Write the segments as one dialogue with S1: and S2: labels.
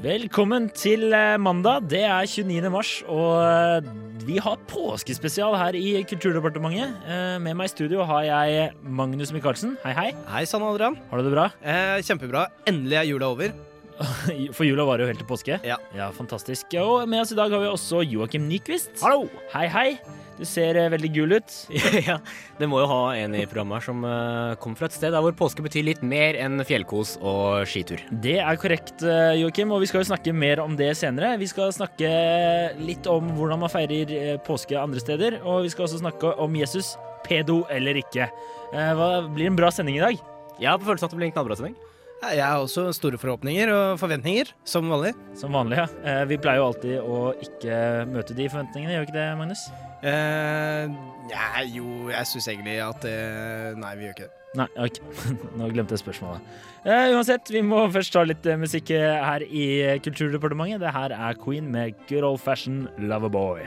S1: Velkommen til eh, mandag. Det er 29. mars, og eh, vi har påskespesial her i Kulturdepartementet. Eh, Med meg i studio har jeg Magnus Michaelsen. Hei, hei.
S2: Hei sann, Adrian.
S1: Har du det bra?
S2: Eh, kjempebra. Endelig er jula over.
S1: For jula varer jo helt til påske.
S2: Ja.
S1: Fantastisk. Og med oss i dag har vi også Joakim Nyquist.
S3: Hallo!
S1: Hei, hei. Du ser eh, veldig gul ut.
S3: ja, det må jo ha en i programmet her som eh, kommer fra et sted der hvor påske betyr litt mer enn fjellkos og skitur.
S1: Det er korrekt, eh, Joakim, og vi skal jo snakke mer om det senere. Vi skal snakke litt om hvordan man feirer eh, påske andre steder, og vi skal også snakke om Jesus, pedo eller ikke. Eh, Hva blir en bra sending i dag?
S3: Jeg har på følelsen at det blir en knallbra sending.
S2: Eh, Jeg har også store forhåpninger og forventninger, som vanlig.
S1: Som vanlig, ja. Eh, Vi pleier jo alltid å ikke møte de forventningene, gjør vi ikke det, Magnus?
S2: Eh, ja, jo, jeg syns egentlig at eh, Nei, vi gjør ikke det.
S1: Nei, ok. Nå glemte jeg spørsmålet. Eh, uansett, vi må først ta litt eh, musikk eh, her i eh, Kulturdepartementet. Det her er Queen med Good Old Fashion Loverboy.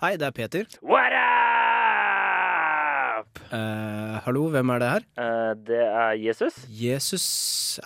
S2: Hei, det er Peter.
S1: What up?
S2: Eh, hallo, hvem er det her?
S1: Eh, det er Jesus?
S2: Jesus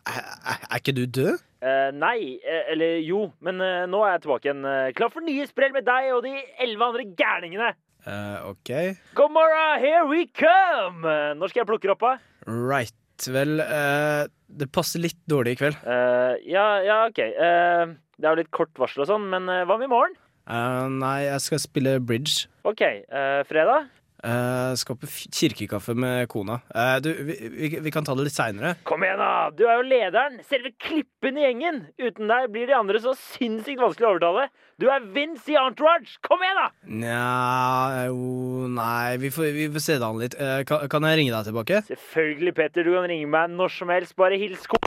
S2: Er, er- er ikke du død?
S1: Eh, nei, eh, eller jo, men eh, nå er jeg tilbake igjen. eh, klar for nye sprell med deg og de elleve andre gærningene.
S2: Eh, OK.
S1: Gomorra, here we come! Eh, når skal jeg plukke opp, da?
S2: Right. Vel, eh, det passer litt dårlig i kveld.
S1: Eh, ja, ja, OK. Eh, det er jo litt kort varsel og sånn, men eh, hva med i morgen?
S2: Eh, nei, jeg skal spille bridge.
S1: OK, eh, fredag?
S2: Eh, skal på f- kirkekaffe med kona. Eh, du, vi, vi, vi kan ta det litt seinere.
S1: Kom igjen, da! Du er jo lederen! Selve klippen i gjengen! Uten deg blir de andre så sinnssykt vanskelig å overtale. Du er Vince i Entourage! Kom igjen, da!
S2: Nja jo Nei, vi får, vi får se det an litt. Eh, kan, kan jeg ringe deg tilbake?
S1: Selvfølgelig, Petter. Du kan ringe meg når som helst. Bare hils ko...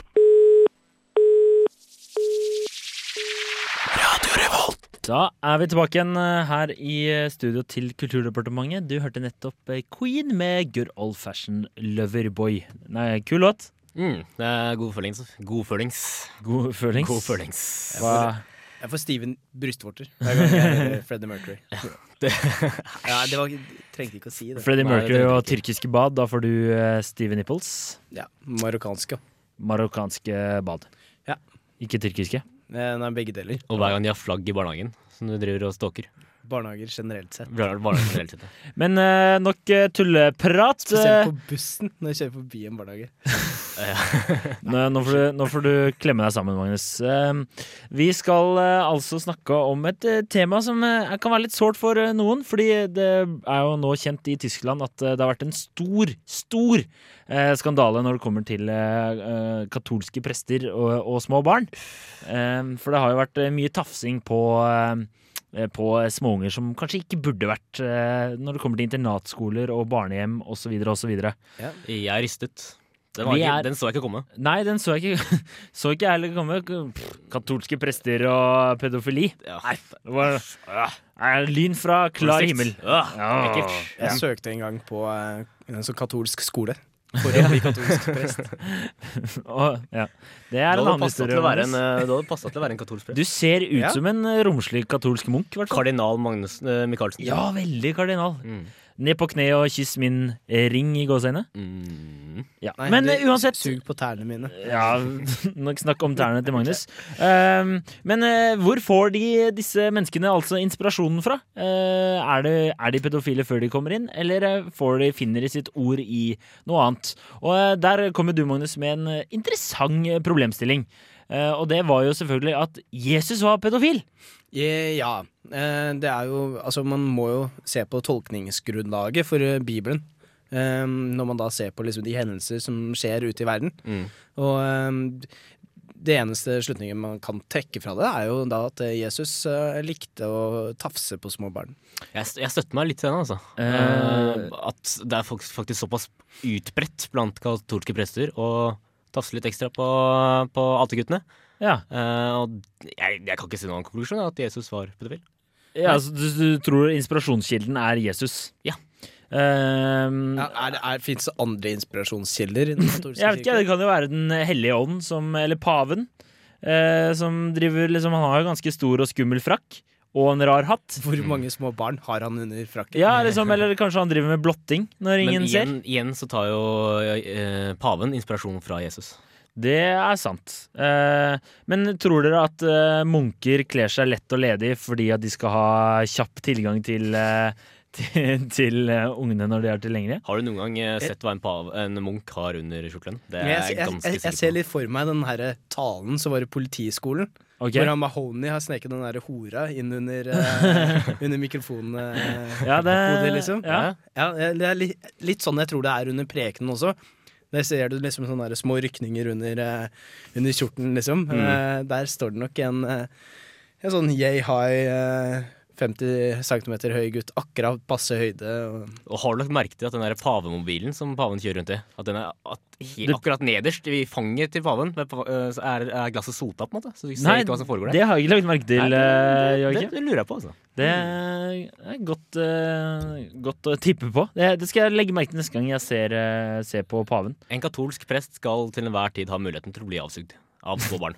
S1: Da er vi tilbake igjen eh, her i eh, studio til Kulturdepartementet. Du hørte nettopp eh, Queen med Good Old Fashion Loverboy. Nei, kul låt.
S3: Mm, det er god følings. God følings.
S1: God følings.
S3: God følings.
S1: Hva?
S2: Jeg får stive brystvorter hver gang jeg hører Freddie Mercury. Ja, det var, trengte ikke å si det.
S1: Freddie
S3: Nei, det
S1: Mercury
S3: tenker
S1: og tyrkiske bad. Da får du eh, stive nipples.
S2: Ja, Marokkansk, ja.
S1: Marokkanske bad.
S2: Ja.
S1: Ikke tyrkiske.
S2: Eh, Nei, begge deler.
S3: Og hver gang de har flagg i barnehagen som du driver og stalker.
S2: Barnehager generelt sett.
S3: Bar- Barnehagen hele tiden.
S1: Men eh, nok eh, tulleprat.
S2: Spesielt på bussen når jeg kjører forbi en barnehage.
S1: Nå, nå, får du, nå får du klemme deg sammen, Magnus. Eh, Vi skal eh, altså snakke om et eh, tema som eh, kan være litt sårt for eh, noen. Fordi det er jo nå kjent i Tyskland at eh, det har vært en stor, stor eh, skandale når det kommer til eh, eh, katolske prester og, og små barn. Eh, For det har jo vært eh, mye tafsing på eh, eh, på småunger som kanskje ikke burde vært eh, når det kommer til internatskoler og barnehjem osv. osv.
S3: Jeg er ristet. Den, var
S1: Vi
S3: ikke,
S1: er-
S3: den så jeg ikke komme.
S1: Nei, den så jeg ikke Så ikke jeg heller komme. Pff, Katolske prester og pedofili.
S3: Ja.
S1: Det var Nei, lyn fra klar
S3: Strikt.
S1: himmel.
S3: Åh,
S1: Ja.
S3: Ekkelt.
S2: Jeg søkte en gang på eh, en sånn katolsk skole. For å bli katolsk prest.
S1: Og, ja. Det
S3: Du
S1: er en
S3: hadde
S1: annen
S3: passa
S1: historie.
S3: til å være en,
S1: Magnus.
S3: eh, du hadde passet til å være en katolsk prest.
S1: Du ser ut
S2: Ja.
S1: som en eh, romslig katolsk munk, i hvert fall.
S3: Kardinal Magnus eh, Michaelsen.
S1: Ja, veldig kardinal.
S3: Mm.
S1: Ned på kne og kyss min eh, ring i gåseøyne.
S3: Mm.
S1: Ja.
S2: Nei,
S1: Men
S2: du
S1: eh, uansett
S2: Sug på tærne mine.
S1: Ja, nok snakk om tærne til Magnus. Ehm, men eh, hvor får de disse menneskene altså inspirasjonen fra? Eh, er, det, er de pedofile før de kommer inn, eller eh, får de finner de sitt ord i noe annet? Og eh, der kommer du, Magnus, med en eh, interessant eh, problemstilling. Eh, og det var jo selvfølgelig at Jesus var pedofil.
S2: Eh, Ja. eh, Det er jo Altså, man må jo se på tolkningsgrunnlaget for eh, Bibelen. eh, Når man da ser på liksom de hendelser som skjer ute i verden.
S3: Mm.
S2: Og eh, det eneste slutningen man kan trekke fra det, er jo da at eh, Jesus eh, likte å tafse på små barn.
S3: Jeg, st- jeg støtter meg litt til den, altså.
S1: Eh,
S3: Eh, at det er faktisk, faktisk såpass utbredt blant katolske prester å tafse litt ekstra på, på alteguttene.
S1: Ja,
S3: Eh, og jeg, jeg kan ikke si noen annen konklusjon enn at Jesus var pedofil.
S1: ja Ehm, altså, du, du tror inspirasjonskilden er Jesus?
S3: Ja.
S1: Ehm,
S2: Ja, er, det- er, Fins det andre inspirasjonskilder? i den katolske
S1: Jeg vet ikke,
S2: kirke?
S1: Det kan jo være Den hellige ånd, som, eller paven, eh, som driver liksom, Han har jo ganske stor og skummel frakk og en rar hatt.
S2: Hvor mange små barn har han under frakken?
S1: Ja, liksom, Eller kanskje han driver med blotting når
S3: Men
S1: ingen
S3: igjen, igjen så tar jo eh, paven inspirasjon fra Jesus.
S1: ser. Det er sant. Eh, men tror dere at eh, munker kler seg lett og ledig fordi at de skal ha kjapp tilgang til eh, til, til eh, ungene når de er tilgjengelige?
S3: Har du noen gang eh, sett hva en, pav, en munk har under skjortelen?
S1: Eh,
S3: Det
S2: Men
S3: er
S2: jeg,
S3: jeg
S2: jeg,
S3: ganske
S2: jeg, jeg ser
S3: sikker på.
S2: litt for meg den her eh, talen som var i politiskolen.
S1: Ok.
S2: Hvor han Mahoney har sneket den der hora inn under, eh, under mikrofonen. eh,
S1: Ja, det,
S2: hodet, liksom.
S1: ja.
S2: Ja, det er li, litt sånn jeg tror det er under prekenen også. Der ser du liksom sånne der små rykninger under, eh, under kjorten, liksom.
S1: Mm.
S2: Eh, der står det nok en, eh, en sånn yay high eh, 50 cm høy gutt, akkurat passe høyde. Og
S3: Og har du lagt merke til at den der pavemobilen som paven kjører rundt i, at den er at, he,
S1: Det-
S3: akkurat nederst i fanget til paven, med pa- eh, så er, er glasset sota, på en måte? Så du ser
S1: Nei,
S3: ikke hva som foregår der?
S1: det har jeg ikke lagt merke til, eh,
S3: Nei,
S1: Joakim.
S3: det, det lurer jeg på, altså.
S1: Det er godt, eh, godt å tippe på. Det, det skal jeg legge merke til neste gang jeg ser, eh, ser på paven.
S3: En katolsk prest skal til enhver tid ha muligheten til å bli avsugd av små barn.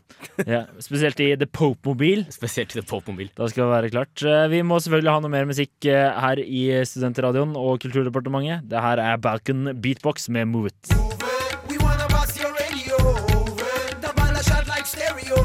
S1: Ja, spesielt i The Pope-mobil.
S3: Spesielt til det popmobil.
S1: Da skal det være klart. Eh, Vi må selvfølgelig ha noe mer musikk eh, her i Studentradioen og Kulturdepartementet. Det her er Balkan Beatbox med Move It.
S4: We wanna bust your radio. The bala shot like stereo.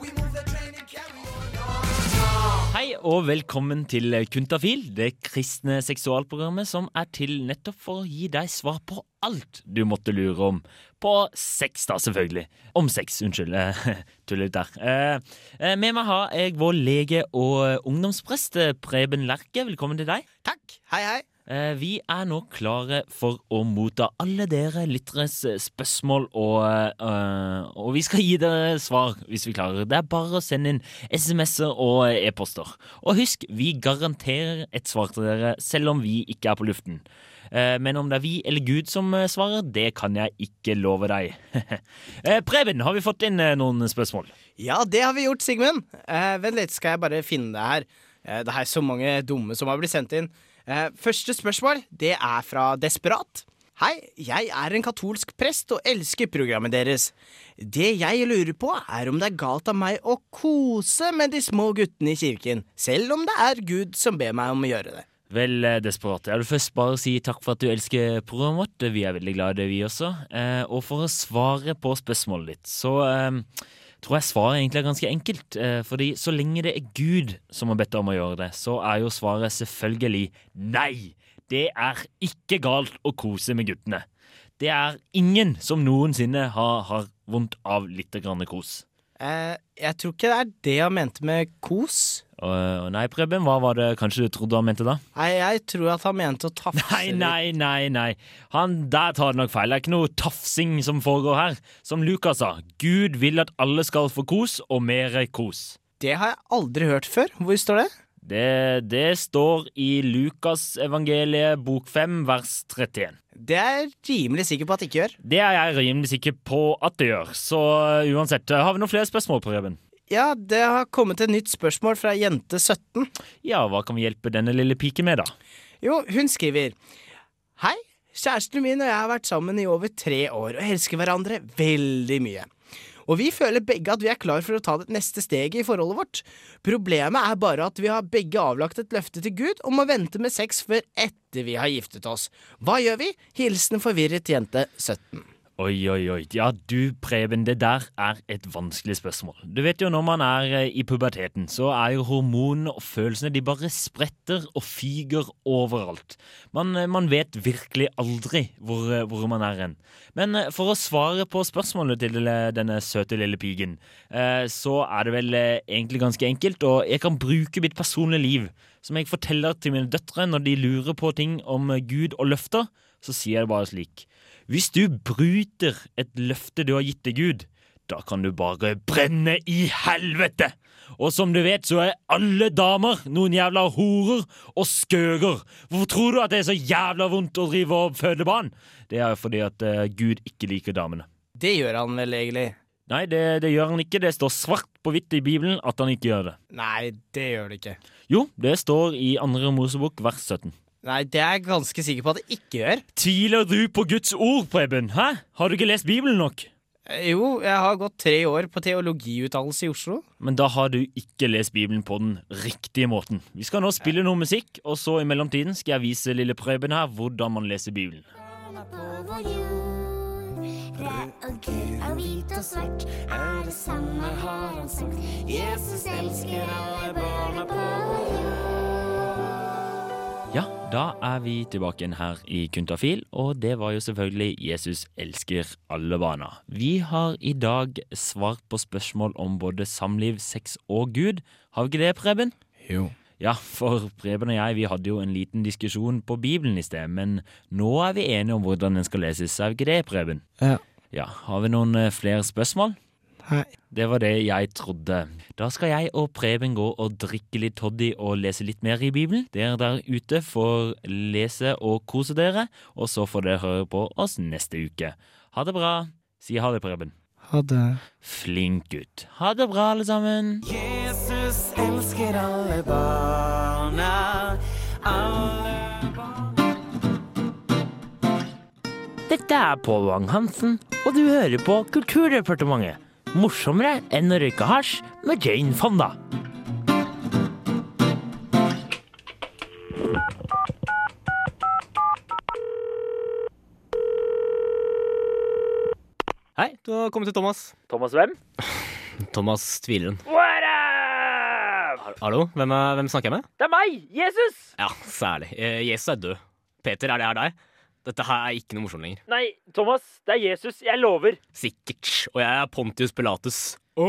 S4: We move the train and carry on.
S1: Hei og velkommen til Kuntafil, det kristne seksualprogrammet som er til nettopp for å gi deg svar på alt du måtte lure om. På sex, da, selvfølgelig. Om sex, unnskyld. eh, Tuller litt der. Eh, eh, Med meg har jeg vår lege og ungdomsprest eh, Preben Lerke. Velkommen til deg.
S4: Takk. Hei, hei.
S1: Eh, Vi er nå klare for å motta alle dere lytteres eh, spørsmål, og, eh, og vi skal gi dere svar hvis vi klarer. Det er bare å sende inn SMS-er og eh, e-poster. Og husk, vi garanterer et svar til dere selv om vi ikke er på luften. Eh, Men om det er vi eller Gud som eh, svarer, det kan jeg ikke love deg. Eh, Preben, har vi fått inn eh, noen spørsmål?
S5: Ja, det har vi gjort, Sigmund. Eh, vent litt, skal jeg bare finne det her. Eh, det er så mange dumme som har blitt sendt inn. Eh, første spørsmål, det er fra Desperat. Hei, jeg er en katolsk prest og elsker programmet deres. Det jeg lurer på, er om det er galt av meg å kose med de små guttene i kirken, selv om det er Gud som ber meg om å gjøre det.
S1: Vel, eh, Desperat, jeg vil først bare si takk for at du elsker programmet vårt. Vi er veldig glade, vi også. Eh, og for å svare på spørsmålet ditt, så eh, tror jeg svaret egentlig er ganske enkelt. Eh, fordi så lenge det er Gud som har bedt deg om å gjøre det, så er jo svaret selvfølgelig nei. Det er ikke galt å kose med guttene. Det er ingen som noensinne har, har vondt av litt grann kos.
S5: Eh, jeg tror ikke det er det han mente med kos.
S1: Og, og nei, Preben, hva var det kanskje du trodde han mente da?
S5: Nei, jeg tror at han mente å tafse
S1: Nei,
S5: litt.
S1: nei, nei, nei. Han der tar det nok feil. Det er ikke noe tafsing som foregår her. Som Lukas sa, Gud vil at alle skal få kos, og mer kos.
S5: Det har jeg aldri hørt før. Hvor står det?
S1: Det, det står i Lukas evangeliet bok 5 vers 31.
S5: Det er jeg rimelig sikker på at det ikke gjør.
S1: Det er jeg rimelig sikker på at det gjør. Så eh, uansett, eh, har vi noen flere spørsmål, Preben?
S5: Ja, det har kommet et nytt spørsmål fra jente17.
S1: Ja, hva kan vi hjelpe denne lille piken med, da?
S5: Jo, hun skriver Hei, kjæresten min og jeg har vært sammen i over tre år og elsker hverandre veldig mye. Og vi føler begge at vi er klar for å ta det neste steget i forholdet vårt. Problemet er bare at vi har begge avlagt et løfte til Gud om å vente med sex før etter vi har giftet oss. Hva gjør vi? Hilsen forvirret jente 17.
S1: Oi, oi, oi. Ja, du Preben, det der er et vanskelig spørsmål. Du vet jo når man er eh, i puberteten, så er jo hormonene og følelsene de bare spretter og fyger overalt. Man, eh, man vet virkelig aldri hvor, eh, hvor man er hen. Men eh, for å svare på spørsmålet til eh, denne søte lille pigen, eh, så er det vel eh, egentlig ganske enkelt, og jeg kan bruke mitt personlige liv. Som jeg forteller til mine døtre når de lurer på ting om eh, Gud og løfter, så sier jeg det bare slik. Hvis du bryter et løfte du har gitt til Gud, da kan du bare brenne i helvete! Og som du vet, så er alle damer noen jævla horer og skøger. Hvorfor tror du at det er så jævla vondt å drive og føde barn? Det er fordi at eh, Gud ikke liker damene.
S5: Det gjør han vel egentlig?
S1: Nei, det, det gjør han ikke. Det står svart på hvitt i Bibelen at han ikke gjør det.
S5: Nei, det gjør det ikke.
S1: Jo, det står i andre Mosebok vers 17.
S5: Nei, det er jeg ganske sikker på at det ikke gjør.
S1: Tviler du på Guds ord, Preben? Hæ? Har du ikke lest Bibelen nok?
S5: Eh, Jo, jeg har gått tre år på teologiutdannelse i Oslo.
S1: Men da har du ikke lest Bibelen på den riktige måten. Vi skal nå spille noe musikk, og så i mellomtiden skal jeg vise lille Preben her hvordan man leser Bibelen.
S6: på vår jord. Rød og gul og hvit og svart er det samme, har han sagt. Jesus elsker alle barna på vår jord.
S1: Ja, da er vi tilbake igjen her i Kuntafil, og det var jo selvfølgelig Jesus elsker alle barna. Vi har i dag svart på spørsmål om både samliv, sex og Gud. Har vi ikke det, Preben?
S2: Jo.
S1: Ja, for Preben og jeg vi hadde jo en liten diskusjon på Bibelen i sted, men nå er vi enige om hvordan den skal leses, er vi ikke det, Preben?
S2: Ja.
S1: Ja, Har vi noen eh, flere spørsmål?
S2: Nei.
S1: Det var det jeg trodde. Da skal jeg og Preben gå og drikke litt toddy og lese litt mer i Bibelen. Dere der ute får lese og kose dere, og så får dere høre på oss neste uke. Ha det bra. Si ha det, Preben.
S2: Ha det.
S1: Flink gutt. Ha det bra, alle sammen. Dette er Pål Wang Hansen, og du hører på Kulturdepartementet. Morsommere enn å røyke hasj med Jane Fonda.
S3: Hei, du har kommet til Thomas.
S1: Thomas hvem?
S3: Thomas Tvileren. Hallo, hvem, er, hvem snakker jeg med?
S1: Det er meg! Jesus!
S3: Ja, særlig. Eh, Jesus er død. Peter, er det her deg? Dette her er ikke noe morsomt lenger.
S1: Nei, Thomas, det er Jesus. Jeg lover.
S3: Sikkert. Og jeg er Pontius Pilatus. Å,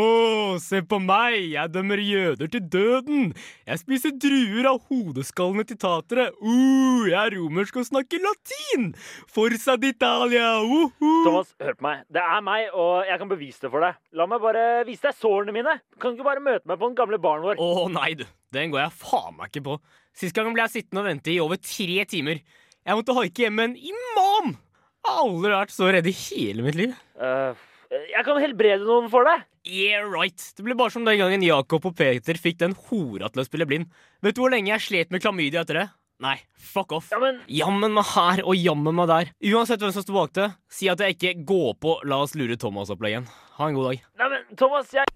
S3: se på meg! Jeg dømmer jøder til døden! Jeg spiser druer av hodeskallene til tatere! Uh, jeg er romersk og snakker latin! Forsa d'Italia! Uhu!
S1: Thomas, hør på meg. Det er meg, og jeg kan bevise det for deg. La meg bare vise deg sårene mine. Kan du ikke bare møte meg på den gamle baren vår?
S3: Å nei, du. Den går jeg faen meg ikke på. Sist gang ble jeg sittende og vente i over tre timer. Jeg måtte haike hjem med en imam! Jeg har aldri vært så redd i hele mitt liv.
S1: Eh, jeg kan helbrede noen for deg.
S3: Yeah right. Det ble bare som den gangen Jakob og Peter fikk den hora til å spille blind. Vet du hvor lenge jeg slet med klamydia etter det? Nei, fuck off.
S1: Ja, men
S3: Jammen meg her og jammen meg der. Uansett hvem som står bak det, si at jeg ikke går på La oss lure Thomas opp igjen. Ha en god dag.
S1: Nei, men Thomas, jeg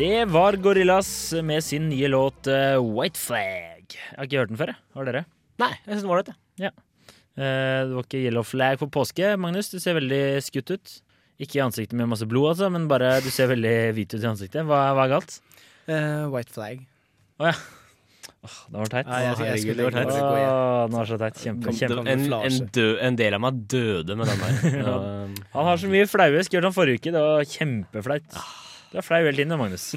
S1: Det var Gorillas med sin nye låt eh, White Flag. Jeg har ikke hørt den før, jeg. Har dere?
S3: Nei, jeg syns det var ålreit, jeg.
S1: Eh, Det var ikke Yellow Flag for påske, Magnus. Du ser veldig skutt ut. Ikke i ansiktet med masse blod, altså, men bare du ser veldig hvit ut i ansiktet. Hva, hva er galt?
S2: Eh, white flag.
S1: Åh, det var teit.
S2: Nei, jeg, jeg,
S3: herregud,
S2: skulle
S3: det var
S2: egentlig
S3: teit.
S2: bare gå igjen.
S1: Åh, nå er det så teit. Kjempe,
S2: Kom,
S1: kjempe.
S3: En, en,
S2: Kamuflasje.
S3: død, en del av meg døde med den der. Ja.
S1: Han har så mye flaue. Skulle gjort han forrige uke. Det var kjempeflaut. Du er flau hele tiden, Magnus.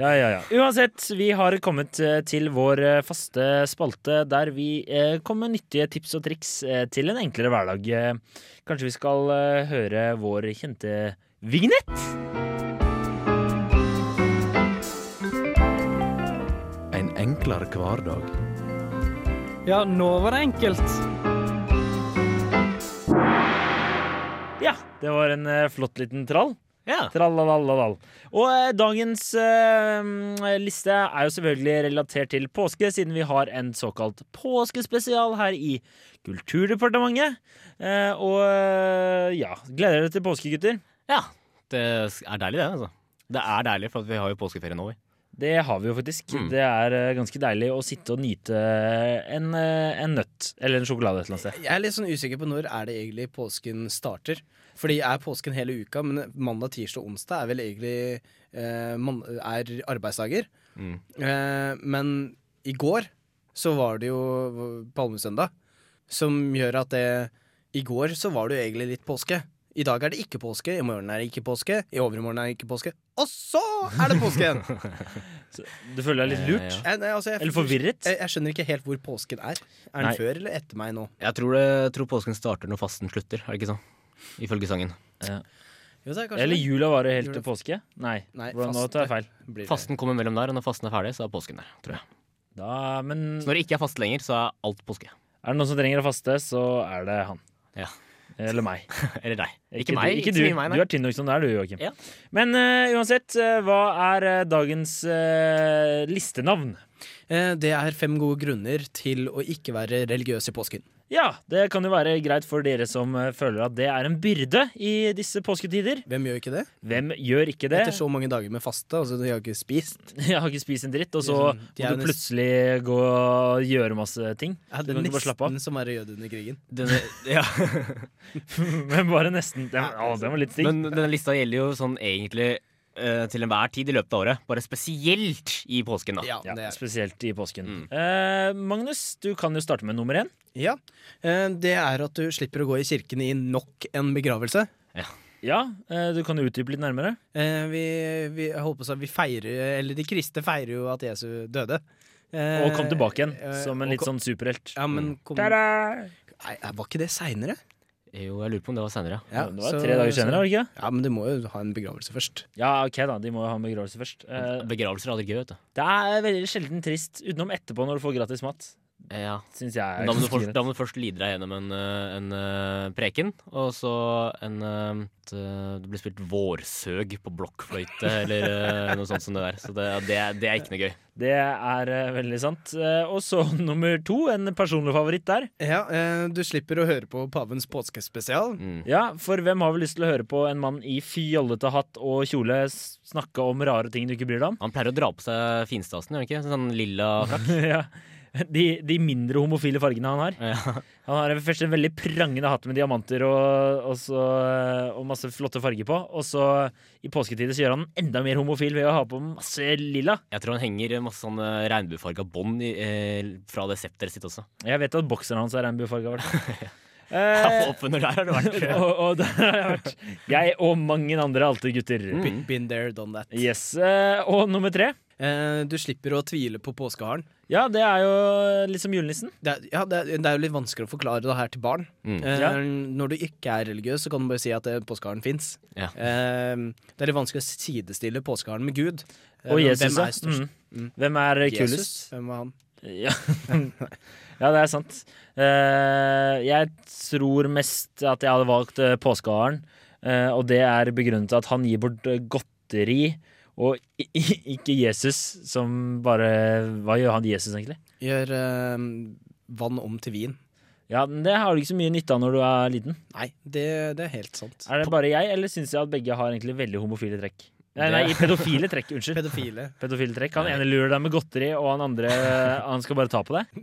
S1: Ja, ja, ja. Uansett, vi har kommet eh, til vår eh, faste spalte der vi eh, kommer med nyttige tips og triks eh, til en enklere hverdag. Eh, Kanskje vi skal eh, høre vår kjente vignett?
S7: En enklere hverdag.
S8: Ja, nå var det enkelt.
S1: Ja, det var en eh, flott liten trall.
S3: ja.
S1: Tralalalal. Og eh, dagens eh, mm, liste er jo selvfølgelig relatert til påske, siden vi har en såkalt påskespesial her i Kulturdepartementet. Eh, og eh, ja, gleder dere til påske, gutter?
S3: ja. Det er deilig, det. altså. Det er deilig, for at vi har jo påskeferie nå. vi.
S1: Det har vi jo faktisk.
S3: Mm.
S1: Det er eh, ganske deilig å sitte og nyte en, eh, en nøtt eller en sjokolade et eller annet sted.
S2: Jeg er litt sånn usikker på når er det egentlig påsken starter. Fordi er påsken hele uka, men mandag, tirsdag og onsdag er vel egentlig eh, man, er arbeidsdager.
S3: Mm.
S2: Eh, men i går så var det jo palmesøndag, som gjør at det I går så var det jo egentlig litt påske. I dag er det ikke påske, i morgen er det ikke påske, i overmorgen er det ikke påske. Og så er det påske igjen!
S1: Du føler deg litt
S3: Eh,
S1: lurt?
S3: ja.
S2: Jeg- nei, altså, jeg-
S1: Eller forvirret?
S2: Jeg, jeg skjønner ikke helt hvor påsken er. Er den
S1: Nei.
S2: før eller etter meg nå?
S3: Jeg tror, det, tror påsken starter når fasten slutter, er det ikke sånn? Ifølge sangen.
S2: Jo, det er kanskje
S1: Eller
S2: det.
S1: jula varer helt
S2: Jula-
S1: til påske? Nei,
S2: Nei,
S1: Hvordan, nå
S2: faste.
S1: tar jeg feil.
S2: Blir det.
S3: Fasten kommer mellom der, og når fasten er ferdig, så er påsken der. tror jeg.
S1: Da, men
S3: Så når det ikke er faste lenger, så er alt påske.
S1: er det noen som trenger å faste, så er det han.
S3: Ja.
S1: Eller meg.
S3: Eller deg. Ikke meg.
S1: Ikke
S3: Ikke
S1: du.
S3: så mye meg,
S1: du
S3: nei.
S1: er tynn nok som du er, du, Joakim.
S3: Ja.
S1: Men eh, uansett, eh, hva er eh, dagens eh, listenavn?
S2: Eh, Det er fem gode grunner til å ikke være religiøs i påsken.
S1: Ja, det kan jo være greit for dere som eh, føler at det er en byrde i disse påsketider.
S2: Hvem gjør ikke det?
S1: Hvem gjør ikke det?
S2: Etter så mange dager med faste, altså de har ikke spist.
S1: Jeg har ikke spist en dritt, og så
S2: Det er sånn- de
S1: må
S2: er
S1: du
S2: jo
S1: plutselig gå og gjøre masse ting.
S2: Ja,
S1: Du
S2: det
S1: kan
S2: er
S1: ikke bare slappe av.
S2: nesten som være jøde under krigen.
S3: Denne, ja.
S1: Men bare nesten. Den, å,
S2: sånn.
S1: den var litt stygg.
S3: Men denne lista gjelder jo sånn egentlig eh, til enhver tid i løpet av året. Bare spesielt i påsken, da.
S2: Ja,
S1: Ah, Ja,
S2: det er. Mm.
S1: spesielt i påsken. Eh, Magnus, du kan jo starte med nummer én.
S2: Ja. Eh, Det er at du slipper å gå i kirken i nok en begravelse.
S1: Ja, eh, du kan jo utdype litt nærmere.
S2: Eh, Vi, vi, jeg holdt på å si, vi feirer Eller de kristne feirer jo at Jesu døde. Eh,
S1: Og kom tilbake igjen
S2: eh,
S1: som en
S2: og
S1: litt
S2: kom-
S1: sånn Mm. superhelt.
S2: Ja, men kom, nei, eh,
S1: Ta-da!
S2: Var ikke det seinere?
S3: Jo, jeg lurer på om det var seinere.
S1: Ja, det var tre dager senere, var det ikke? det?
S2: Ja, men du må jo ha en begravelse først.
S1: Ja, ok da, de må jo ha en begravelse først. Eh,
S3: Begravelser er aldri gøy, vet du.
S1: det er veldig sjelden trist, utenom etterpå når du får gratis mat.
S3: Ja.
S1: Syns jeg. er
S3: Da må, du
S1: ganske
S3: først,
S1: greit.
S3: da må du først lide deg gjennom en, eh, en eh, preken, og så en eh, t- Det blir spilt vårsøg på blokkfløyte eller eh, noe sånt som det der. Så det, det, er- det er ikke noe gøy.
S1: Det er eh, veldig sant. Eh, og så nummer to, en personlig favoritt der.
S2: Ja, eh, Du slipper å høre på Pavens påskespesial.
S1: Ja, for hvem har vel lyst til å høre på en mann i fjollete hatt og kjole s- snakke om rare ting du ikke bryr deg om?
S3: Han pleier å dra på seg finstasen, gjør han ikke? Sånn lilla frakk.
S1: ja. De, de mindre homofile fargene han har.
S3: Ja.
S1: Han har først en veldig prangende hatt med diamanter og, og, så, eh, og masse flotte farger på. Og så i påsketider så gjør han den enda mer homofil ved å ha på masse lilla.
S3: Jeg tror han henger masse sånn eh, regnbuefarga bånd i, eh, fra det septeret sitt også.
S1: Jeg vet at bokseren hans er regnbuefarga.
S3: Ja,
S1: Eh,
S3: Oppunder der har det vært
S1: og, og der har jeg vært. Jeg og mange andre altergutter. gutter
S2: Be- Been there, done that.
S1: Yes, eh, Og nummer tre.
S2: Eh, du slipper å tvile på påskeharen.
S1: Ja, det er jo litt som julenissen.
S2: Det er, ja, det, er, det er jo litt vanskelig å forklare det her til barn. Eh,
S1: Ja.
S2: Når du ikke er religiøs, så kan du bare si at eh, påskeharen fins.
S3: Ja.
S2: Eh, det er litt vanskelig å sidestille påskeharen med Gud. Eh,
S1: Og
S2: men
S1: Jesus,
S2: hvem
S1: ja.
S2: er størst?
S1: Mm. Hvem er
S2: Jesus?
S1: kulest?
S2: Hvem var han?
S1: Ja. ja, det er sant. Eh, jeg tror mest at jeg hadde valgt eh, påskeharen, eh, og det er begrunnet at han gir bort eh, godteri. Og i- i- ikke Jesus, som bare Hva gjør han Jesus, egentlig?
S2: Gjør eh, vann om til vin.
S1: Ja, men Det har du ikke så mye nytte av når du er liten.
S2: Nei, det, det er helt sant.
S1: Er det bare jeg, eller syns jeg at begge har egentlig veldig homofile trekk? Nei,
S3: Det-
S1: nei pedofile trekk. Unnskyld.
S2: Pedofile.
S1: pedofile trekk. Han ene lurer deg med godteri, og han andre eh, han skal bare ta på deg.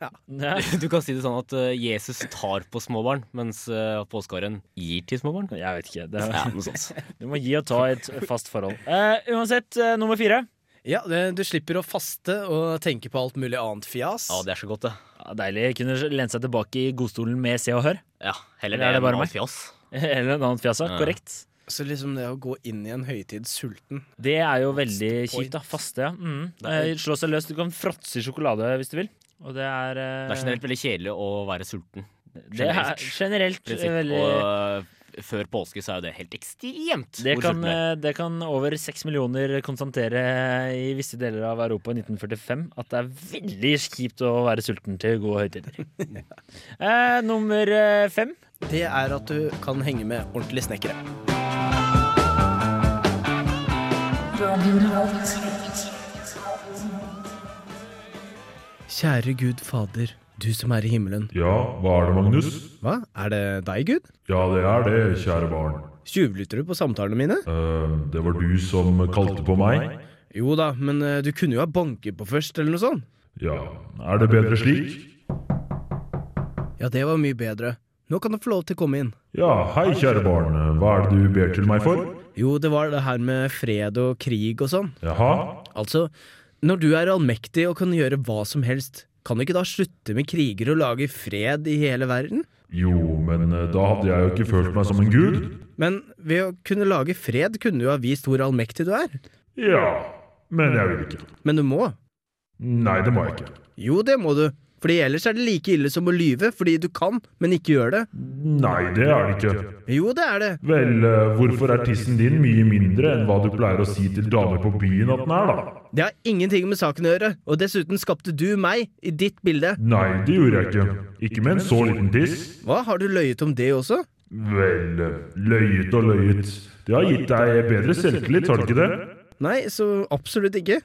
S2: Ja.
S1: Ja.
S3: Du kan si det sånn at eh, Jesus tar på småbarn, mens uh, påskeharen gir til småbarn.
S1: Jeg vet ikke. Det
S3: Ja, noe sånt.
S1: Du må gi og ta i et fast forhold. Eh, uansett, eh, nummer fire.
S2: Ja, det, du slipper å faste og tenke på alt mulig annet fjas.
S3: Ja, det er så godt, det.
S1: Ja, deilig. Kunne lene seg tilbake i godstolen med Se og Hør.
S3: Ja, Heller
S1: Eller er
S3: det
S1: det bare
S3: enn
S1: meg?
S3: alt fjas.
S1: Eller en annen fjasa.
S3: Ja.
S1: Korrekt.
S2: Så liksom det å gå inn i en høytid sulten.
S1: Det er jo veldig
S2: point.
S1: kjipt, da. Faste, ja. Mm.
S3: Nei.
S1: Eh, slå seg løs. Du kan fråtse i sjokolade hvis du vil. Og det er eh,
S3: Det er generelt veldig kjedelig å være sulten.
S1: det er generelt
S3: prinsipp.
S1: eh, veldig
S3: Og eh, før påske så er jo det helt ekstremt
S1: det
S3: hvor
S1: kan,
S3: sulten er.
S1: eh, det kan over seks millioner konstatere i visse deler av Europa i 1945 at det er veldig kjipt å være sulten til gode høytider. eh, nummer eh, fem.
S2: Det er at du kan henge med ordentlige snekkere. Kjære Gud Fader, du som er i himmelen.
S9: Ja, hva er det, Magnus?
S2: Hva? Er det deg, Gud?
S9: Ja, det er det, kjære barn.
S2: Tjuvlytter du på samtalene mine?
S9: Eh, det var du som kalte på meg?
S2: Jo da, men eh, du kunne jo ha banket på først, eller noe sånt.
S9: Ja, er det bedre slik?
S2: Ja, det var mye bedre. Nå kan du få lov til å komme inn.
S9: Ja, hei, kjære barn. Hva er det du ber til meg for?
S2: Jo, det var det her med fred og krig og sånn.
S9: Jaha?
S2: Altså, når du er allmektig og kan gjøre hva som helst, kan du ikke da slutte med kriger og lage fred i hele verden?
S9: Jo, men eh, da hadde jeg jo ikke følt meg som en gud.
S2: Men ved å kunne lage fred kunne du ha vist hvor allmektig du er.
S9: Ja, men jeg vil ikke.
S2: Men du må.
S9: Nei, det må jeg ikke.
S2: Jo, det må du. Fordi ellers er det like ille som å lyve, fordi du kan, men ikke gjør det.
S9: Nei, det er det ikke.
S2: Jo, det er det.
S9: Vel, eh, hvorfor er tissen din mye mindre enn hva du pleier å si til damer på byen at den er, da?
S2: Det har ingenting med saken å gjøre, og dessuten skapte du meg i ditt bilde.
S9: Nei, det gjorde jeg ikke. Ikke med en så liten tiss.
S2: Hva, har du løyet om det også?
S9: Vel, løyet og løyet. Det har gitt deg bedre selvtillit, har det ikke det?
S2: Nei, så absolutt ikke.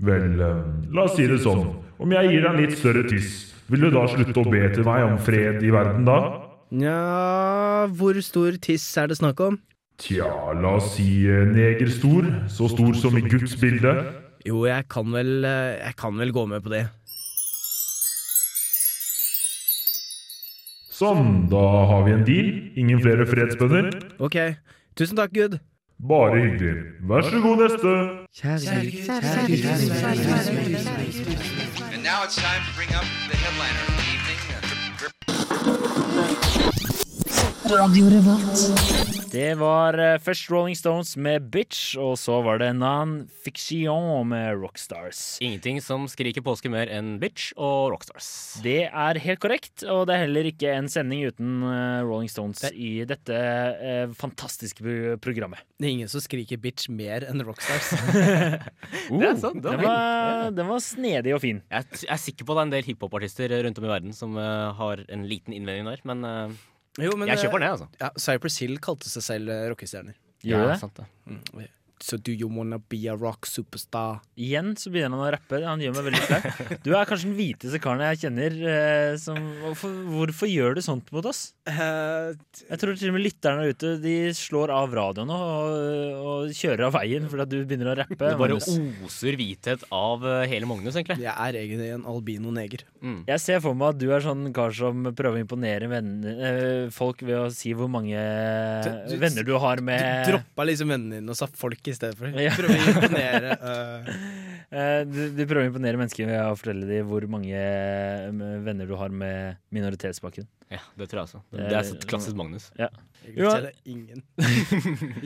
S9: Vel, eh, la oss si det sånn. Om jeg gir deg en litt større tiss, vil du da slutte å be til meg om fred i verden da?
S2: Nja, hvor stor tiss er det snakk om?
S9: Tja, la oss si eh, negerstor, så stor som i Guds bilde.
S2: Jo, jeg kan vel, eh, jeg kan vel gå med på det.
S9: Sånn, da har vi en deal. Ingen flere fredsbønner.
S2: Ok, tusen takk, Gud.
S9: Bare hyggelig. Vær så god, neste.
S4: And now it's time to bring up the headliner of the evening.
S1: Det var eh, først Rolling Stones med 'Bitch', og så var det Nan Fiction med 'Rockstars'.
S3: Ingenting som skriker påske mer enn bitch og rockstars.
S1: Det er helt korrekt, og det er heller ikke en sending uten eh, Rolling Stones i dette eh, fantastiske pro- programmet.
S2: Det er ingen som skriker bitch mer enn Rockstars.
S3: det er sant. Det
S1: Den
S3: var fint.
S1: var, den var snedig og fin.
S3: Jeg t- jeg er sikker på det er en del hiphopartister rundt om i verden som eh, har en liten innvending der, men eh,
S2: Jo, men
S3: jeg kjøper den, jeg, altså.
S2: Ja, Cypress Hill kalte seg selv eh, rockestjerner.
S1: Gjør
S3: Ja,
S1: det?
S3: sant det.
S2: So do you wanna be a rock superstar?
S1: Igjen så begynner han å rappe. Han gjør meg veldig flau. Du er kanskje den hviteste karen jeg kjenner. eh, Som, hvorfor, hvorfor gjør du sånt mot oss? Jeg tror til og med lytterne der ute De slår av radioen og, og kjører av veien fordi at du begynner å rappe.
S3: Det bare
S1: Magnus.
S3: oser hvithet av eh, hele Magnus, egentlig.
S2: jeg er egentlig en albino neger.
S1: Jeg ser for meg at du er sånn kar som prøver å imponere venner, eh, folk ved å si hvor mange
S2: Du- du-
S1: venner du har
S2: Du
S1: med
S2: droppa liksom vennene dine og sa folk i stedet for.
S1: Ja.
S2: Prøve å imponere. eh,
S1: Eh, du, du prøver å imponere mennesker ved å fortelle dem hvor mange eh, venner du har med minoritetsbakgrunn.
S3: Ja, det tror jeg også.
S1: Det er-
S3: Det det er klassisk Magnus.
S2: jeg
S1: Jo.
S2: kjenner ingen.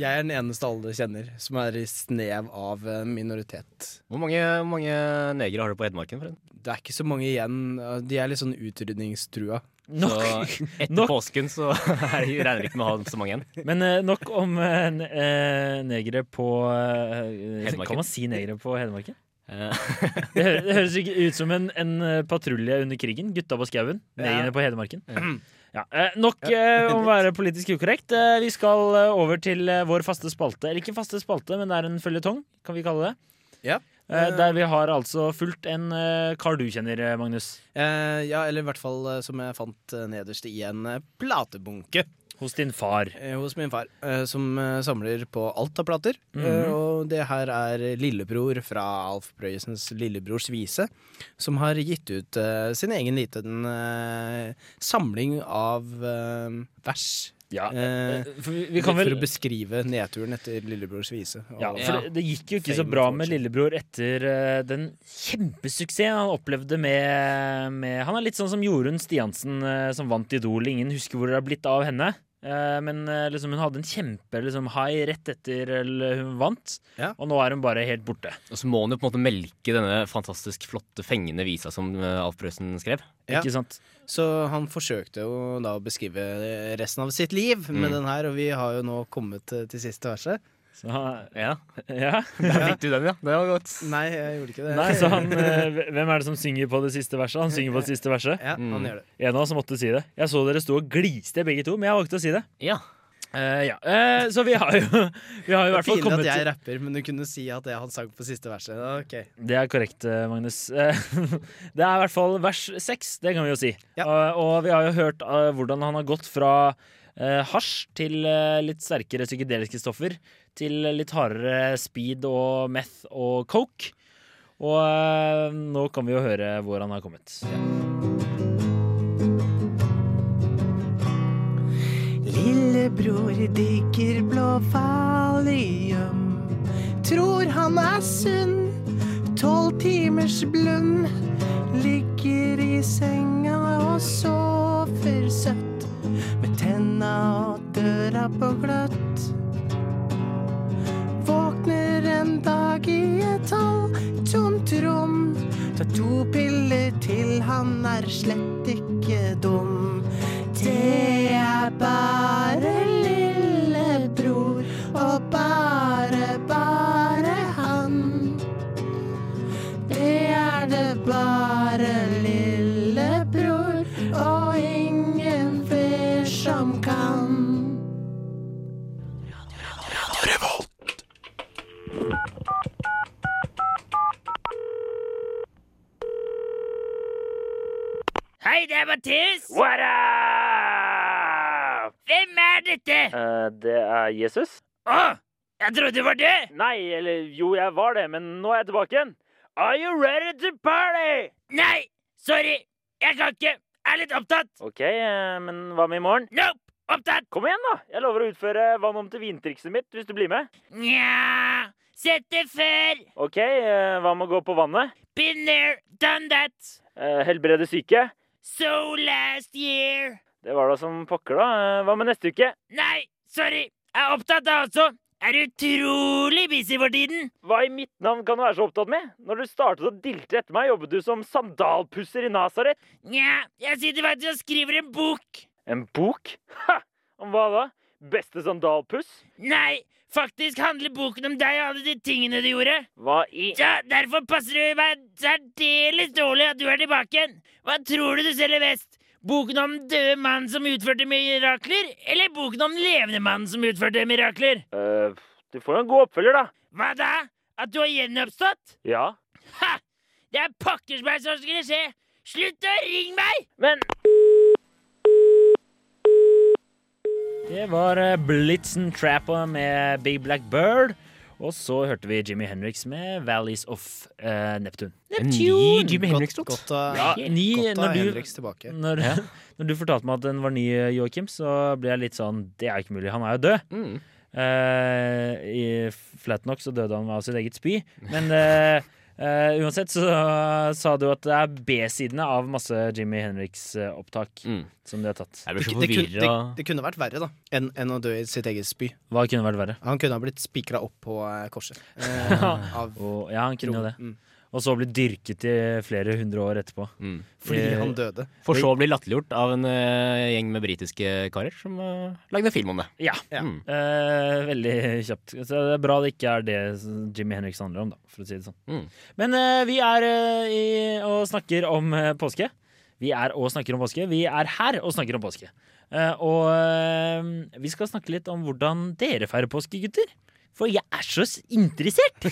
S2: Jeg er den eneste alle kjenner som er i snev av eh, minoritet.
S3: Hvor mange, hvor mange negere har du på Hedmarken, Fred?
S2: Det er ikke så mange igjen. eh, De er litt sånn utrydningstrua.
S1: Nok,
S3: Så etter
S1: Nok.
S3: påsken så er det- regner vi ikke med å ha så mange igjen.
S1: men eh, nok om eh, n- eh, negere på eh,
S3: Hedmarken.
S1: Kan man si negere på Hedmarken?
S3: Eh,
S1: Det, hø det høres ikke ut som en, en eh, patrulje under krigen. Gutta på skauen, negerne på Hedmarken. Ja, eh, nok eh, om å være politisk ukorrekt. Eh, vi skal eh, over til eh, vår faste spalte. Eller ikke faste spalte, men det er en føljetong, kan vi kalle det.
S2: Ja.
S1: Eh, der vi har altså fulgt en eh, kar du kjenner, eh, Magnus.
S2: Eh, ja, eller i hvert fall eh, som jeg fant eh, nederst i en eh, platebunke
S1: Hos din far.
S2: eh, hos min far, eh, som eh, samler på alt av plater.
S1: Mhm.
S2: Eh, og det her er lillebror fra Alf Prøyesens Lillebrors vise, som har gitt ut eh, sin egen liten eh, samling av eh, vers.
S1: Ja.
S2: eh,
S1: For vi, vi kan vel
S2: For å beskrive nedturen etter Lillebrors vise. Og,
S1: ja, for det, det gikk jo ikke så
S2: Fame
S1: bra
S2: and
S1: med
S2: fortune.
S1: lillebror etter eh, den kjempesuksessen han opplevde med, med Han er litt sånn som Jorunn Stiansen eh, som vant Idol. Ingen husker hvor det har blitt av henne. Eh, men eh, liksom, hun hadde en kjempe liksom, high rett etter eller, hun vant,
S2: Ja.
S1: og nå er hun bare helt borte.
S3: og så må han jo på en måte melke denne fantastisk flotte, fengende visa som eh, Alf Prøysen skrev.
S2: Ja.
S1: Ikke sant?
S2: Så han forsøkte jo da å beskrive resten av sitt liv
S1: Mm.
S2: med den her, og vi har jo nå kommet eh, til siste verset.
S1: Så, han-
S3: Ja,
S1: ja.
S3: Der fikk du den, ja. Det var godt.
S2: Nei, jeg gjorde ikke det.
S1: Nei, så han, eh, hvem er det som synger på det siste verset? Han synger på det siste verset.
S2: Ja, han gjør det.
S1: En av oss måtte si det. Jeg så dere sto og gliste begge to, men jeg valgte å si det.
S3: Ja.
S1: Eh, ja. Eh, så vi har jo, vi har jo i
S2: Det
S1: hvert
S2: er
S1: fall
S2: pinlig
S1: kommet
S2: at jeg
S1: til
S2: rapper, men du kunne si at det han sang på siste verset. Ok.
S1: Det er korrekt, eh, Magnus. Eh, Det er i hvert fall vers seks, det kan vi jo si.
S2: Ja.
S1: Eh, Og vi har jo hørt eh, hvordan han har gått fra eh, hasj til eh, litt sterkere psykedeliske stoffer til litt hardere speed og meth og coke. Og eh, nå kan vi jo høre hvor han har kommet.
S5: Lillebror digger blå valium. Tror han er sunn. Tolv timers blund. Ligger i senga og sover søtt. Med tenna og døra på gløtt. Våkner en dag i et halvtomt rom. Tar to piller
S4: til han er slett ikke dum. Det er bare lillebror og bare, bare han. Det er det bare lillebror og ingen flere som kan.
S10: Hei, det er Mathis. What up? Hvem er dette?
S1: Eh, det er Jesus.
S10: Å, jeg trodde det var det.
S1: Nei, eller jo, jeg var det, men nå er jeg tilbake igjen. Are you ready to party?
S10: Nei, sorry. Jeg kan ikke. Jeg er litt opptatt.
S1: Ok, eh, men hva med i morgen?
S10: Nope. Opptatt.
S1: Kom igjen, da! Jeg lover å utføre vann om til vintrikset mitt hvis du blir med.
S10: Nja. Sett det før.
S1: Ok, eh, hva med å gå på vannet?
S10: Been there, done that.
S1: Eh, helbrede syke?
S10: So last year.
S1: Det var da som pokker, da. Eh, hva med neste uke?
S10: Nei, sorry. Jeg er opptatt da også. Er utrolig busy for tiden.
S1: Hva i mitt navn kan du være så opptatt med? Når du startet å dilte etter meg, jobbet du som sandalpusser i Nasaret.
S10: Nja, jeg sitter faktisk og skriver en bok.
S1: En bok? Ha! Om hva da? Beste sandalpuss?
S10: Nei, faktisk handler boken om deg og alle de tingene du gjorde.
S1: Hva i
S10: Ja, derfor passer det meg særdeles dårlig at du er tilbake igjen. Hva tror du du selger best? Boken om den døde mannen som utførte mirakler, eller boken om den levende mannen som utførte mirakler?
S1: Eh, Du får jo en god oppfølger, da.
S10: Hva da? At du har gjenoppstått?
S1: Ja.
S10: Ha! Det er pokkers meg
S1: sånn
S10: som skulle skje! Slutt å ringe meg!
S1: Men Det var eh, Blitzen Trapper med Big Black Bird. Og så hørte vi Jimmy Henriks med Valleys of eh, Neptune.
S3: En ny Jimmy Henriks-låt.
S2: Godt å
S1: Ja, ni,
S2: godt å ha
S1: når, du,
S2: Henriks tilbake.
S1: når, når du fortalte meg at den var ny, Joakim, så ble jeg litt sånn Det er ikke mulig, han er jo død.
S3: Mm.
S1: Eh, I Flatnock så døde han av sitt eget spy. Men eh, eh, uansett så sa du at det er B-sidene av masse Jimmy Henriks-opptak
S3: Mm.
S1: som de har tatt.
S2: Det,
S3: Jeg blir
S2: det,
S3: så
S2: kunne, det,
S3: forvirra.
S2: det kunne vært verre da enn enn å dø i sitt eget spy.
S1: Hva kunne vært verre?
S2: Han kunne ha blitt spikra opp på eh, korset. Eh, av
S1: Og, ja, han kunne jo det.
S2: Mm.
S1: Og så bli dyrket i flere hundre år etterpå.
S3: Mm.
S2: Fordi
S1: Eh,
S2: han døde.
S3: For så å bli latterliggjort av en eh, gjeng med britiske karer som eh, lagde en film om det.
S1: Ja.
S2: Ja.
S3: Mm.
S1: Eh, veldig kjapt. Så det er bra det ikke er det som Jimmy Henriks handler om, da, for å si det sånn.
S3: Mm.
S1: Men eh, vi er eh, i, og snakker om eh, påske. Vi er og snakker om påske. Vi er her og snakker om påske. Eh, og eh, vi skal snakke litt om hvordan dere feirer påske, gutter. For jeg er så s- interessert!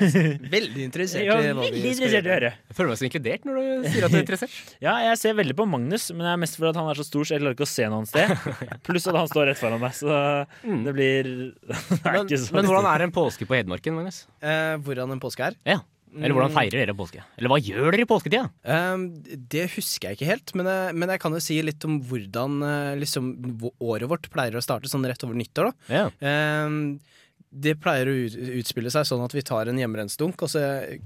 S2: Veldig interessert
S1: Jeg er veldig interessert i å høre.
S3: Jeg føler meg så inkludert når du sier at du er interessert.
S1: Ja, jeg ser veldig på Magnus, men det er mest fordi at han er så stor, så jeg klarer ikke å se noe annet sted. Pluss at han står rett foran meg, så det blir Det er
S3: Mm. Men,
S1: ikke så
S3: men hvordan er en påske på Hedmarken, Magnus?
S2: Eh, hvordan en påske er?
S3: Ja. Eller
S1: Mm.
S3: hvordan feirer dere påske? Eller hva gjør dere i påsketida?
S2: Ehm, det husker jeg ikke helt, men, jeg- men jeg kan jo si litt om hvordan eh, liksom, hvor- året vårt pleier å starte, sånn rett over nyttår. da.
S3: Ja.
S2: Ehm, det pleier å ut- utspille seg sånn at vi tar en hjemmerennsdunk, og så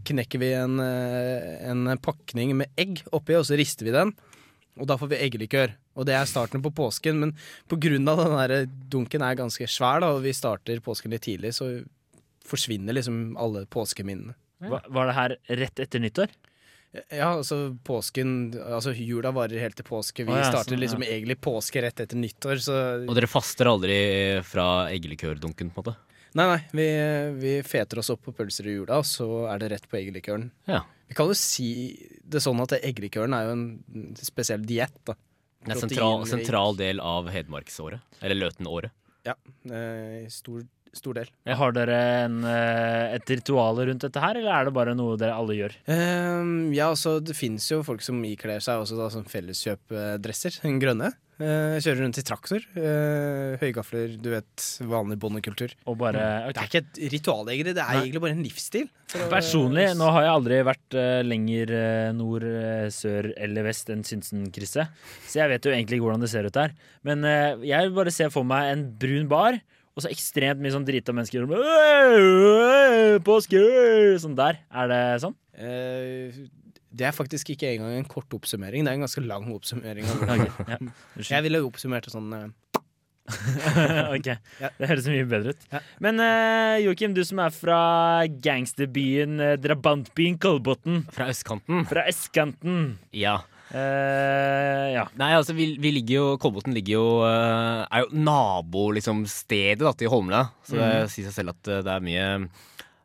S2: knekker vi en, eh, en pakning med egg oppi, og så rister vi den. Og da får vi eggelikør. Og det er starten på påsken, men på grunn av den der dunken er ganske svær, da, og vi starter påsken litt tidlig, så forsvinner liksom alle påskeminnene.
S1: Hva- Var det her rett etter nyttår?
S2: Ja, altså påsken Altså jula varer helt til påske. Vi
S1: Å, ja,
S2: starter
S1: sånn, ja.
S2: liksom egentlig påske rett etter nyttår, så
S3: Og dere faster aldri fra eggelikørdunken, på en måte?
S2: Nei, nei. Vi, vi feter oss opp på pølser i jula, og så er det rett på eggelikøren.
S3: Ja.
S2: Vi kan jo si det sånn at eggelikøren er jo en spesiell diett, da.
S3: Det er sentral,
S2: Proteinrik.
S3: sentral del av hedmarksåret. Eller løtenåret.
S2: Ja. eh, Stor, stor del.
S1: Har dere en, eh, et ritual rundt dette her, eller er det bare noe dere alle gjør?
S2: Ehm, ja, altså det fins jo folk som ikler seg også da som felleskjøpdresser. Den grønne. Eh, kjører rundt i traktor. eh, høygafler, du vet. Vanlig bondekultur.
S1: Og
S3: Mm.
S1: bare ok.
S2: Det er ikke et ritual, egentlig. Det er egentlig bare en livsstil.
S1: Personlig, nå har jeg aldri vært eh, lenger eh, nord, eh, sør eller vest enn Synsenkrysset, så jeg vet jo egentlig ikke hvordan det ser ut der. Men eh, jeg vil bare se for meg en brun bar, og så ekstremt mye sånn drita mennesker som «Øy, øy, Påske! øy», Sånn der. Er det sånn?
S2: Eh, det er faktisk ikke engang en kort oppsummering. Det er en ganske lang oppsummering. av hvordan-
S1: Ja.
S2: Jeg ville jo oppsummert det sånn eh,
S1: ok, Det høres mye bedre ut. Men eh, Joakim, du som er fra gangsterbyen, eh, drabantbyen Kolbotn.
S3: Fra østkanten.
S1: Fra østkanten.
S3: Ja.
S1: Eh, ja.
S3: Nei, altså, vi, vi ligger jo Kolbotn ligger jo eh, Er jo nabostedet liksom, stedet, da, til Holmlia. Så det
S1: Mhm.
S3: sier seg selv at eh, det er mye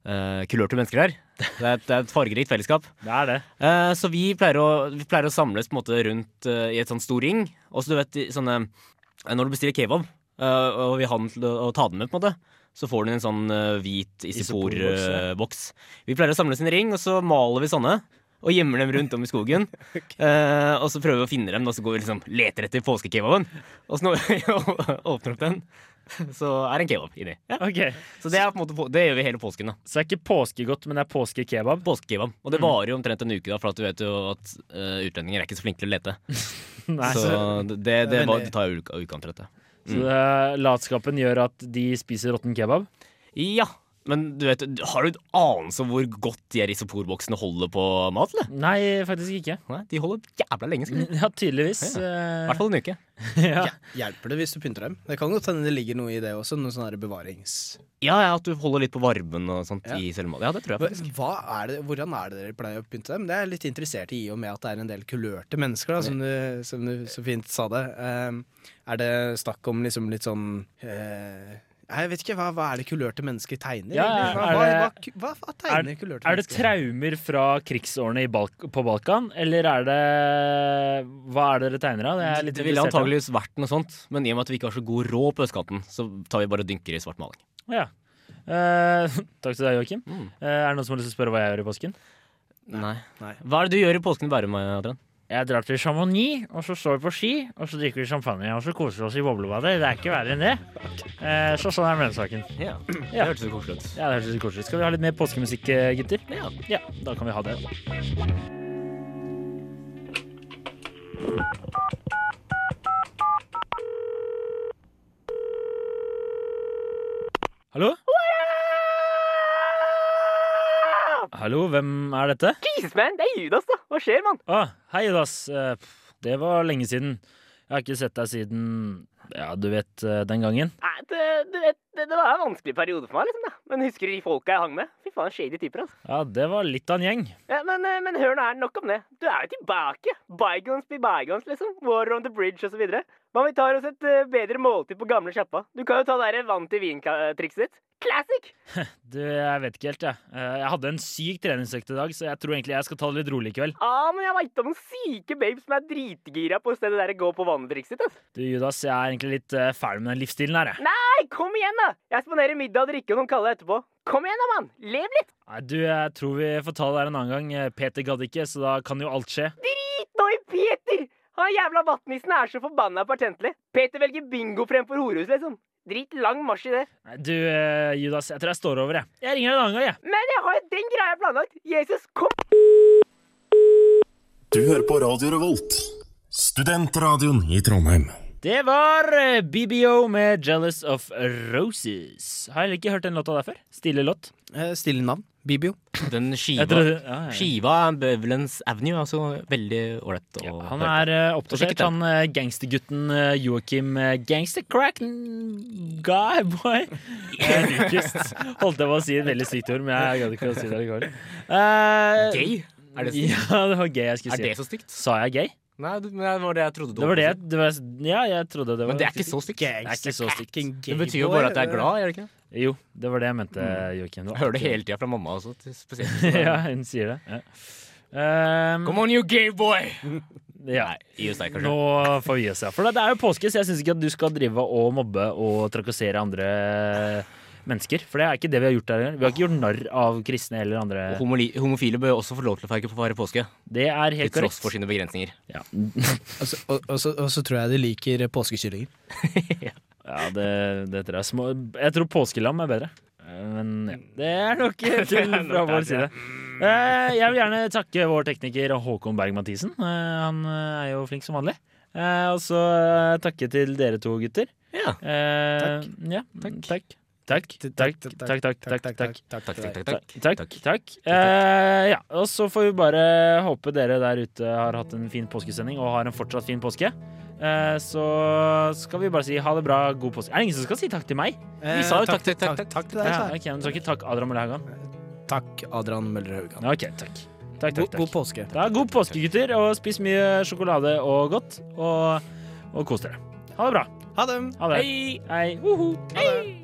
S3: eh, kulørte mennesker her. Det er, et, det er et fargerikt fellesskap.
S1: Det er det.
S3: Eh, så vi pleier, å, vi pleier å samles på en måte rundt eh, i et sånn stor ring. Og så du vet, i sånne eh, Når du bestiller kebab, eh, og vi har den til å å ta den med, på en måte, så får du en sånn eh, hvit
S1: Isopor-boks, ja.
S3: isoporboks. vi pleier å samles i en ring, og så maler vi sånne. Og gjemmer dem rundt om i skogen. Eh, og så prøver vi å finne dem, og så går vi liksom leter etter påskekebaben. Og så når vi åpner opp den, så er det en kebab inni. Ja.
S1: Ok,
S3: Så det, er på en måte, på- det gjør vi hele påsken. da
S1: Så det er ikke påskegodt, men det er påskekebab?
S3: Påskekebab. Og
S1: Mm.
S3: det varer jo omtrent en uke, da, for at du vet jo at eh, utlendinger er ikke så flinke til å lete.
S1: Nei,
S3: så
S1: så-
S3: det, det,
S1: Det er
S3: var,
S1: veldig-
S3: det tar jo uka, uka omtrent, det.
S1: Så det, latskapen gjør at de spiser råtten kebab?
S3: Ja, men du vet, har du en anelse om hvor godt de her isoporboksene holder på mat, eller?
S1: Nei, faktisk ikke.
S3: Nei, De holder jævla lenge, skal
S1: Ja, tydeligvis.
S3: Ja,
S1: eh,
S3: I hvert fall en uke.
S2: Hjelper det hvis du pynter dem? Det kan godt hende det ligger noe i det også. Noe sånn her bevarings...
S3: Ja, ja, at du holder litt på varmen og sånt i selve maten. Ja, det tror jeg faktisk.
S2: Hva er det, hvordan er det dere pleier å pynte dem? Det er jeg litt interessert i, i og med at det er en del kulørte mennesker, da, som, du, som du så fint sa det. Ehm, er det snakk om liksom litt sånn eh, Nei, Jeg vet ikke, hva, hva er det kulørte mennesker tegner?
S1: Ja,
S2: egentlig? hva,
S1: er
S2: hva, hva, hva
S1: Er,
S2: tegner kulørte
S1: er det
S2: mennesker?
S1: traumer fra krigsårene i Balk på Balkan, eller er det Hva er det dere tegner av? Mm, Det er jeg litt
S3: Det ville
S1: interessert i.
S3: antageligvis vært noe sånt, men i og med at vi ikke har så god råd på østkanten, så tar vi bare og dynker i svart maling.
S1: Ja. Eh, takk til deg, Joakim.
S3: Mm.
S1: Eh, er det noen som har lyst til å spørre hva jeg gjør i påsken?
S3: Nei.
S2: Nei.
S3: Hva er det du gjør i påsken i Bærum, Adrian?
S1: Jeg drar til Chamonix, og så står vi på ski, og så drikker vi champagne, og så koser vi oss i boblebadet. Det er ikke verre enn det. Eh, så sånn er mellomsaken.
S3: Ja,
S1: Ja.
S3: det hørtes så koselig ut.
S1: Ja, det høres litt koselig ut. Skal vi ha litt mer påskemusikk, eh, gutter?
S3: Ja.
S1: ja da kan vi ha det. Hallo? Hallo, hvem er dette?
S10: Jesus, man, det er Judas, da. Hva skjer, mann?
S1: Ah, hei, Judas. Eh, pff, Det var lenge siden. Jeg har ikke sett deg siden Ja, du vet, eh, den gangen.
S10: Nei, det, du vet, det, det var en vanskelig periode for meg, liksom, da. Men husker du de folka jeg hang med? Fy faen, shady typer, altså.
S1: Ja, det var litt av en gjeng.
S10: Ja, men, eh, men hør nå her, nok om det. Du er jo tilbake. Bygones blir bygones, liksom. War on the bridge og så videre. Hva om vi tar oss et eh, bedre måltid på gamle sjappa? Du kan jo ta det der vann til vin-trikset ditt. Classic!
S1: Du, jeg vet ikke helt, jeg. Eh, Jeg hadde en syk treningsøkt i dag, så jeg tror egentlig jeg skal ta det litt rolig i kveld.
S10: Ah, men jeg veit om noen syke babes som er dritgira på stedet der gå på altså. vannet-trikset sitt, ass.
S1: Du, Judas, jeg er egentlig litt eh, ferdig med den livsstilen her, jeg.
S10: Nei, kom igjen, da! Jeg spanderer middag og drikke og noen kalde etterpå. Kom igjen, da, mann! Lev litt!
S1: Nei, du, jeg tror vi får ta det her en annen gang. Eh, Peter gadd ikke, så da kan jo alt skje.
S10: Drit nå i Peter! Han jævla vattnissen er så forbanna patentlig. Peter velger bingo fremfor horehus, liksom. Drit lang marsj i det.
S1: Nei, du, eh, Judas, jeg tror jeg står over, jeg. Jeg ringer deg en annen gang, jeg.
S10: Men jeg har jo den greia planlagt. Jesus, kom!
S11: Du hører på Radio Revolt, studentradioen i Trondheim.
S1: Det var eh, BBO med 'Jealous of Roses'. Har jeg ikke hørt den låta der før? Stille låt.
S2: Eh, stille navn. Bibio.
S3: Den skiva,
S1: Jeg trodde- ja, ja, ja.
S3: skiva er Beverlands Avenue er også veldig ålreit. å
S1: Han
S3: høre
S1: er
S3: på.
S1: eh,
S3: Så
S1: oppdatert,
S3: sjekk ut den.
S1: han eh, gangstergutten eh, Joakim eh, Gangstercrack guy boy. Eh, Rikest. Holdt jeg på å si et veldig sykt ord, men jeg gadd ikke å si det likevel. Eh,
S3: Gay? Er det stygt?
S1: Ja, det var gay jeg skulle
S3: Er
S1: si.
S3: det så stygt?
S1: Sa jeg gay?
S3: Nei, du- men det var det jeg trodde du
S1: Det var det,
S3: holdt på
S1: jeg-
S3: å
S1: det var, Ja, jeg trodde det var
S3: Men det er ikke så stygt.
S1: Det er ikke så stygt.
S3: si. Det betyr jo bare at jeg er glad, gjør det ikke? det?
S1: Jo, det var det jeg mente, Joakim. Det var
S3: Jeg hører det
S1: ikke-
S3: hele tida fra mamma også, til- spesielt.
S1: ja, hun sier det. Ja. Ehm,
S3: Come on, you gay boy!
S1: Eh, ja.
S3: Gi oss deg, kanskje.
S1: Nå får vi gi oss, ja. For det- det er jo påske, så jeg syns ikke at du skal drive og mobbe og trakassere andre mennesker. For det er ikke det vi har gjort der. Vi har ikke gjort narr av kristne eller
S3: Og
S1: andre.
S3: homoli- Homofile bør også få lov til å feire på feire påske.
S1: Det er
S3: Til
S1: helt
S3: tross for
S1: korrekt.
S3: sine begrensninger.
S1: Ja,
S2: Og så- og- og så- og så tror jeg de liker påskekyllinger.
S1: ja det, det tror jeg. Små, jeg tror påskelam er bedre. Eh, Men ja, det er nok til fra vår side. Eh, Jeg vil gjerne takke vår tekniker Håkon Berg-Mathisen. Eh, Han eh, er jo flink som vanlig. Eh, Og så eh, takke til dere to gutter.
S3: Ja.
S1: Eh, Ja, takk. Takk, takk, takk, takk, takk, takk, takk,
S2: takk,
S1: takk,
S2: takk,
S1: takk, takk, takk. Eh, Ja, og så får vi bare håpe dere der ute har hatt en fin påskesending og har en fortsatt fin påske. Eh, Så skal vi bare si ha det bra, god påske. Er det ingen som skal si takk til meg?
S2: Eh,
S1: Vi sa jo
S2: takk
S1: takk
S2: til-
S1: til takk,
S2: takk-
S1: takk,
S2: takk til deg,
S1: Ja,
S2: sa jeg.
S1: ok, men så ikke takk Adrian Mølle Haugan.
S2: Takk, Adrian Møller Haugan.
S1: Ok, takk. Takk, takk,
S2: God-
S1: takk.
S2: god påske.
S1: Ja, god påske, gutter, og spis mye sjokolade og godt, og, og kos dere. Ha det bra.
S2: Ha det.
S1: Ha det. Hei. Hei. Woho. Hei.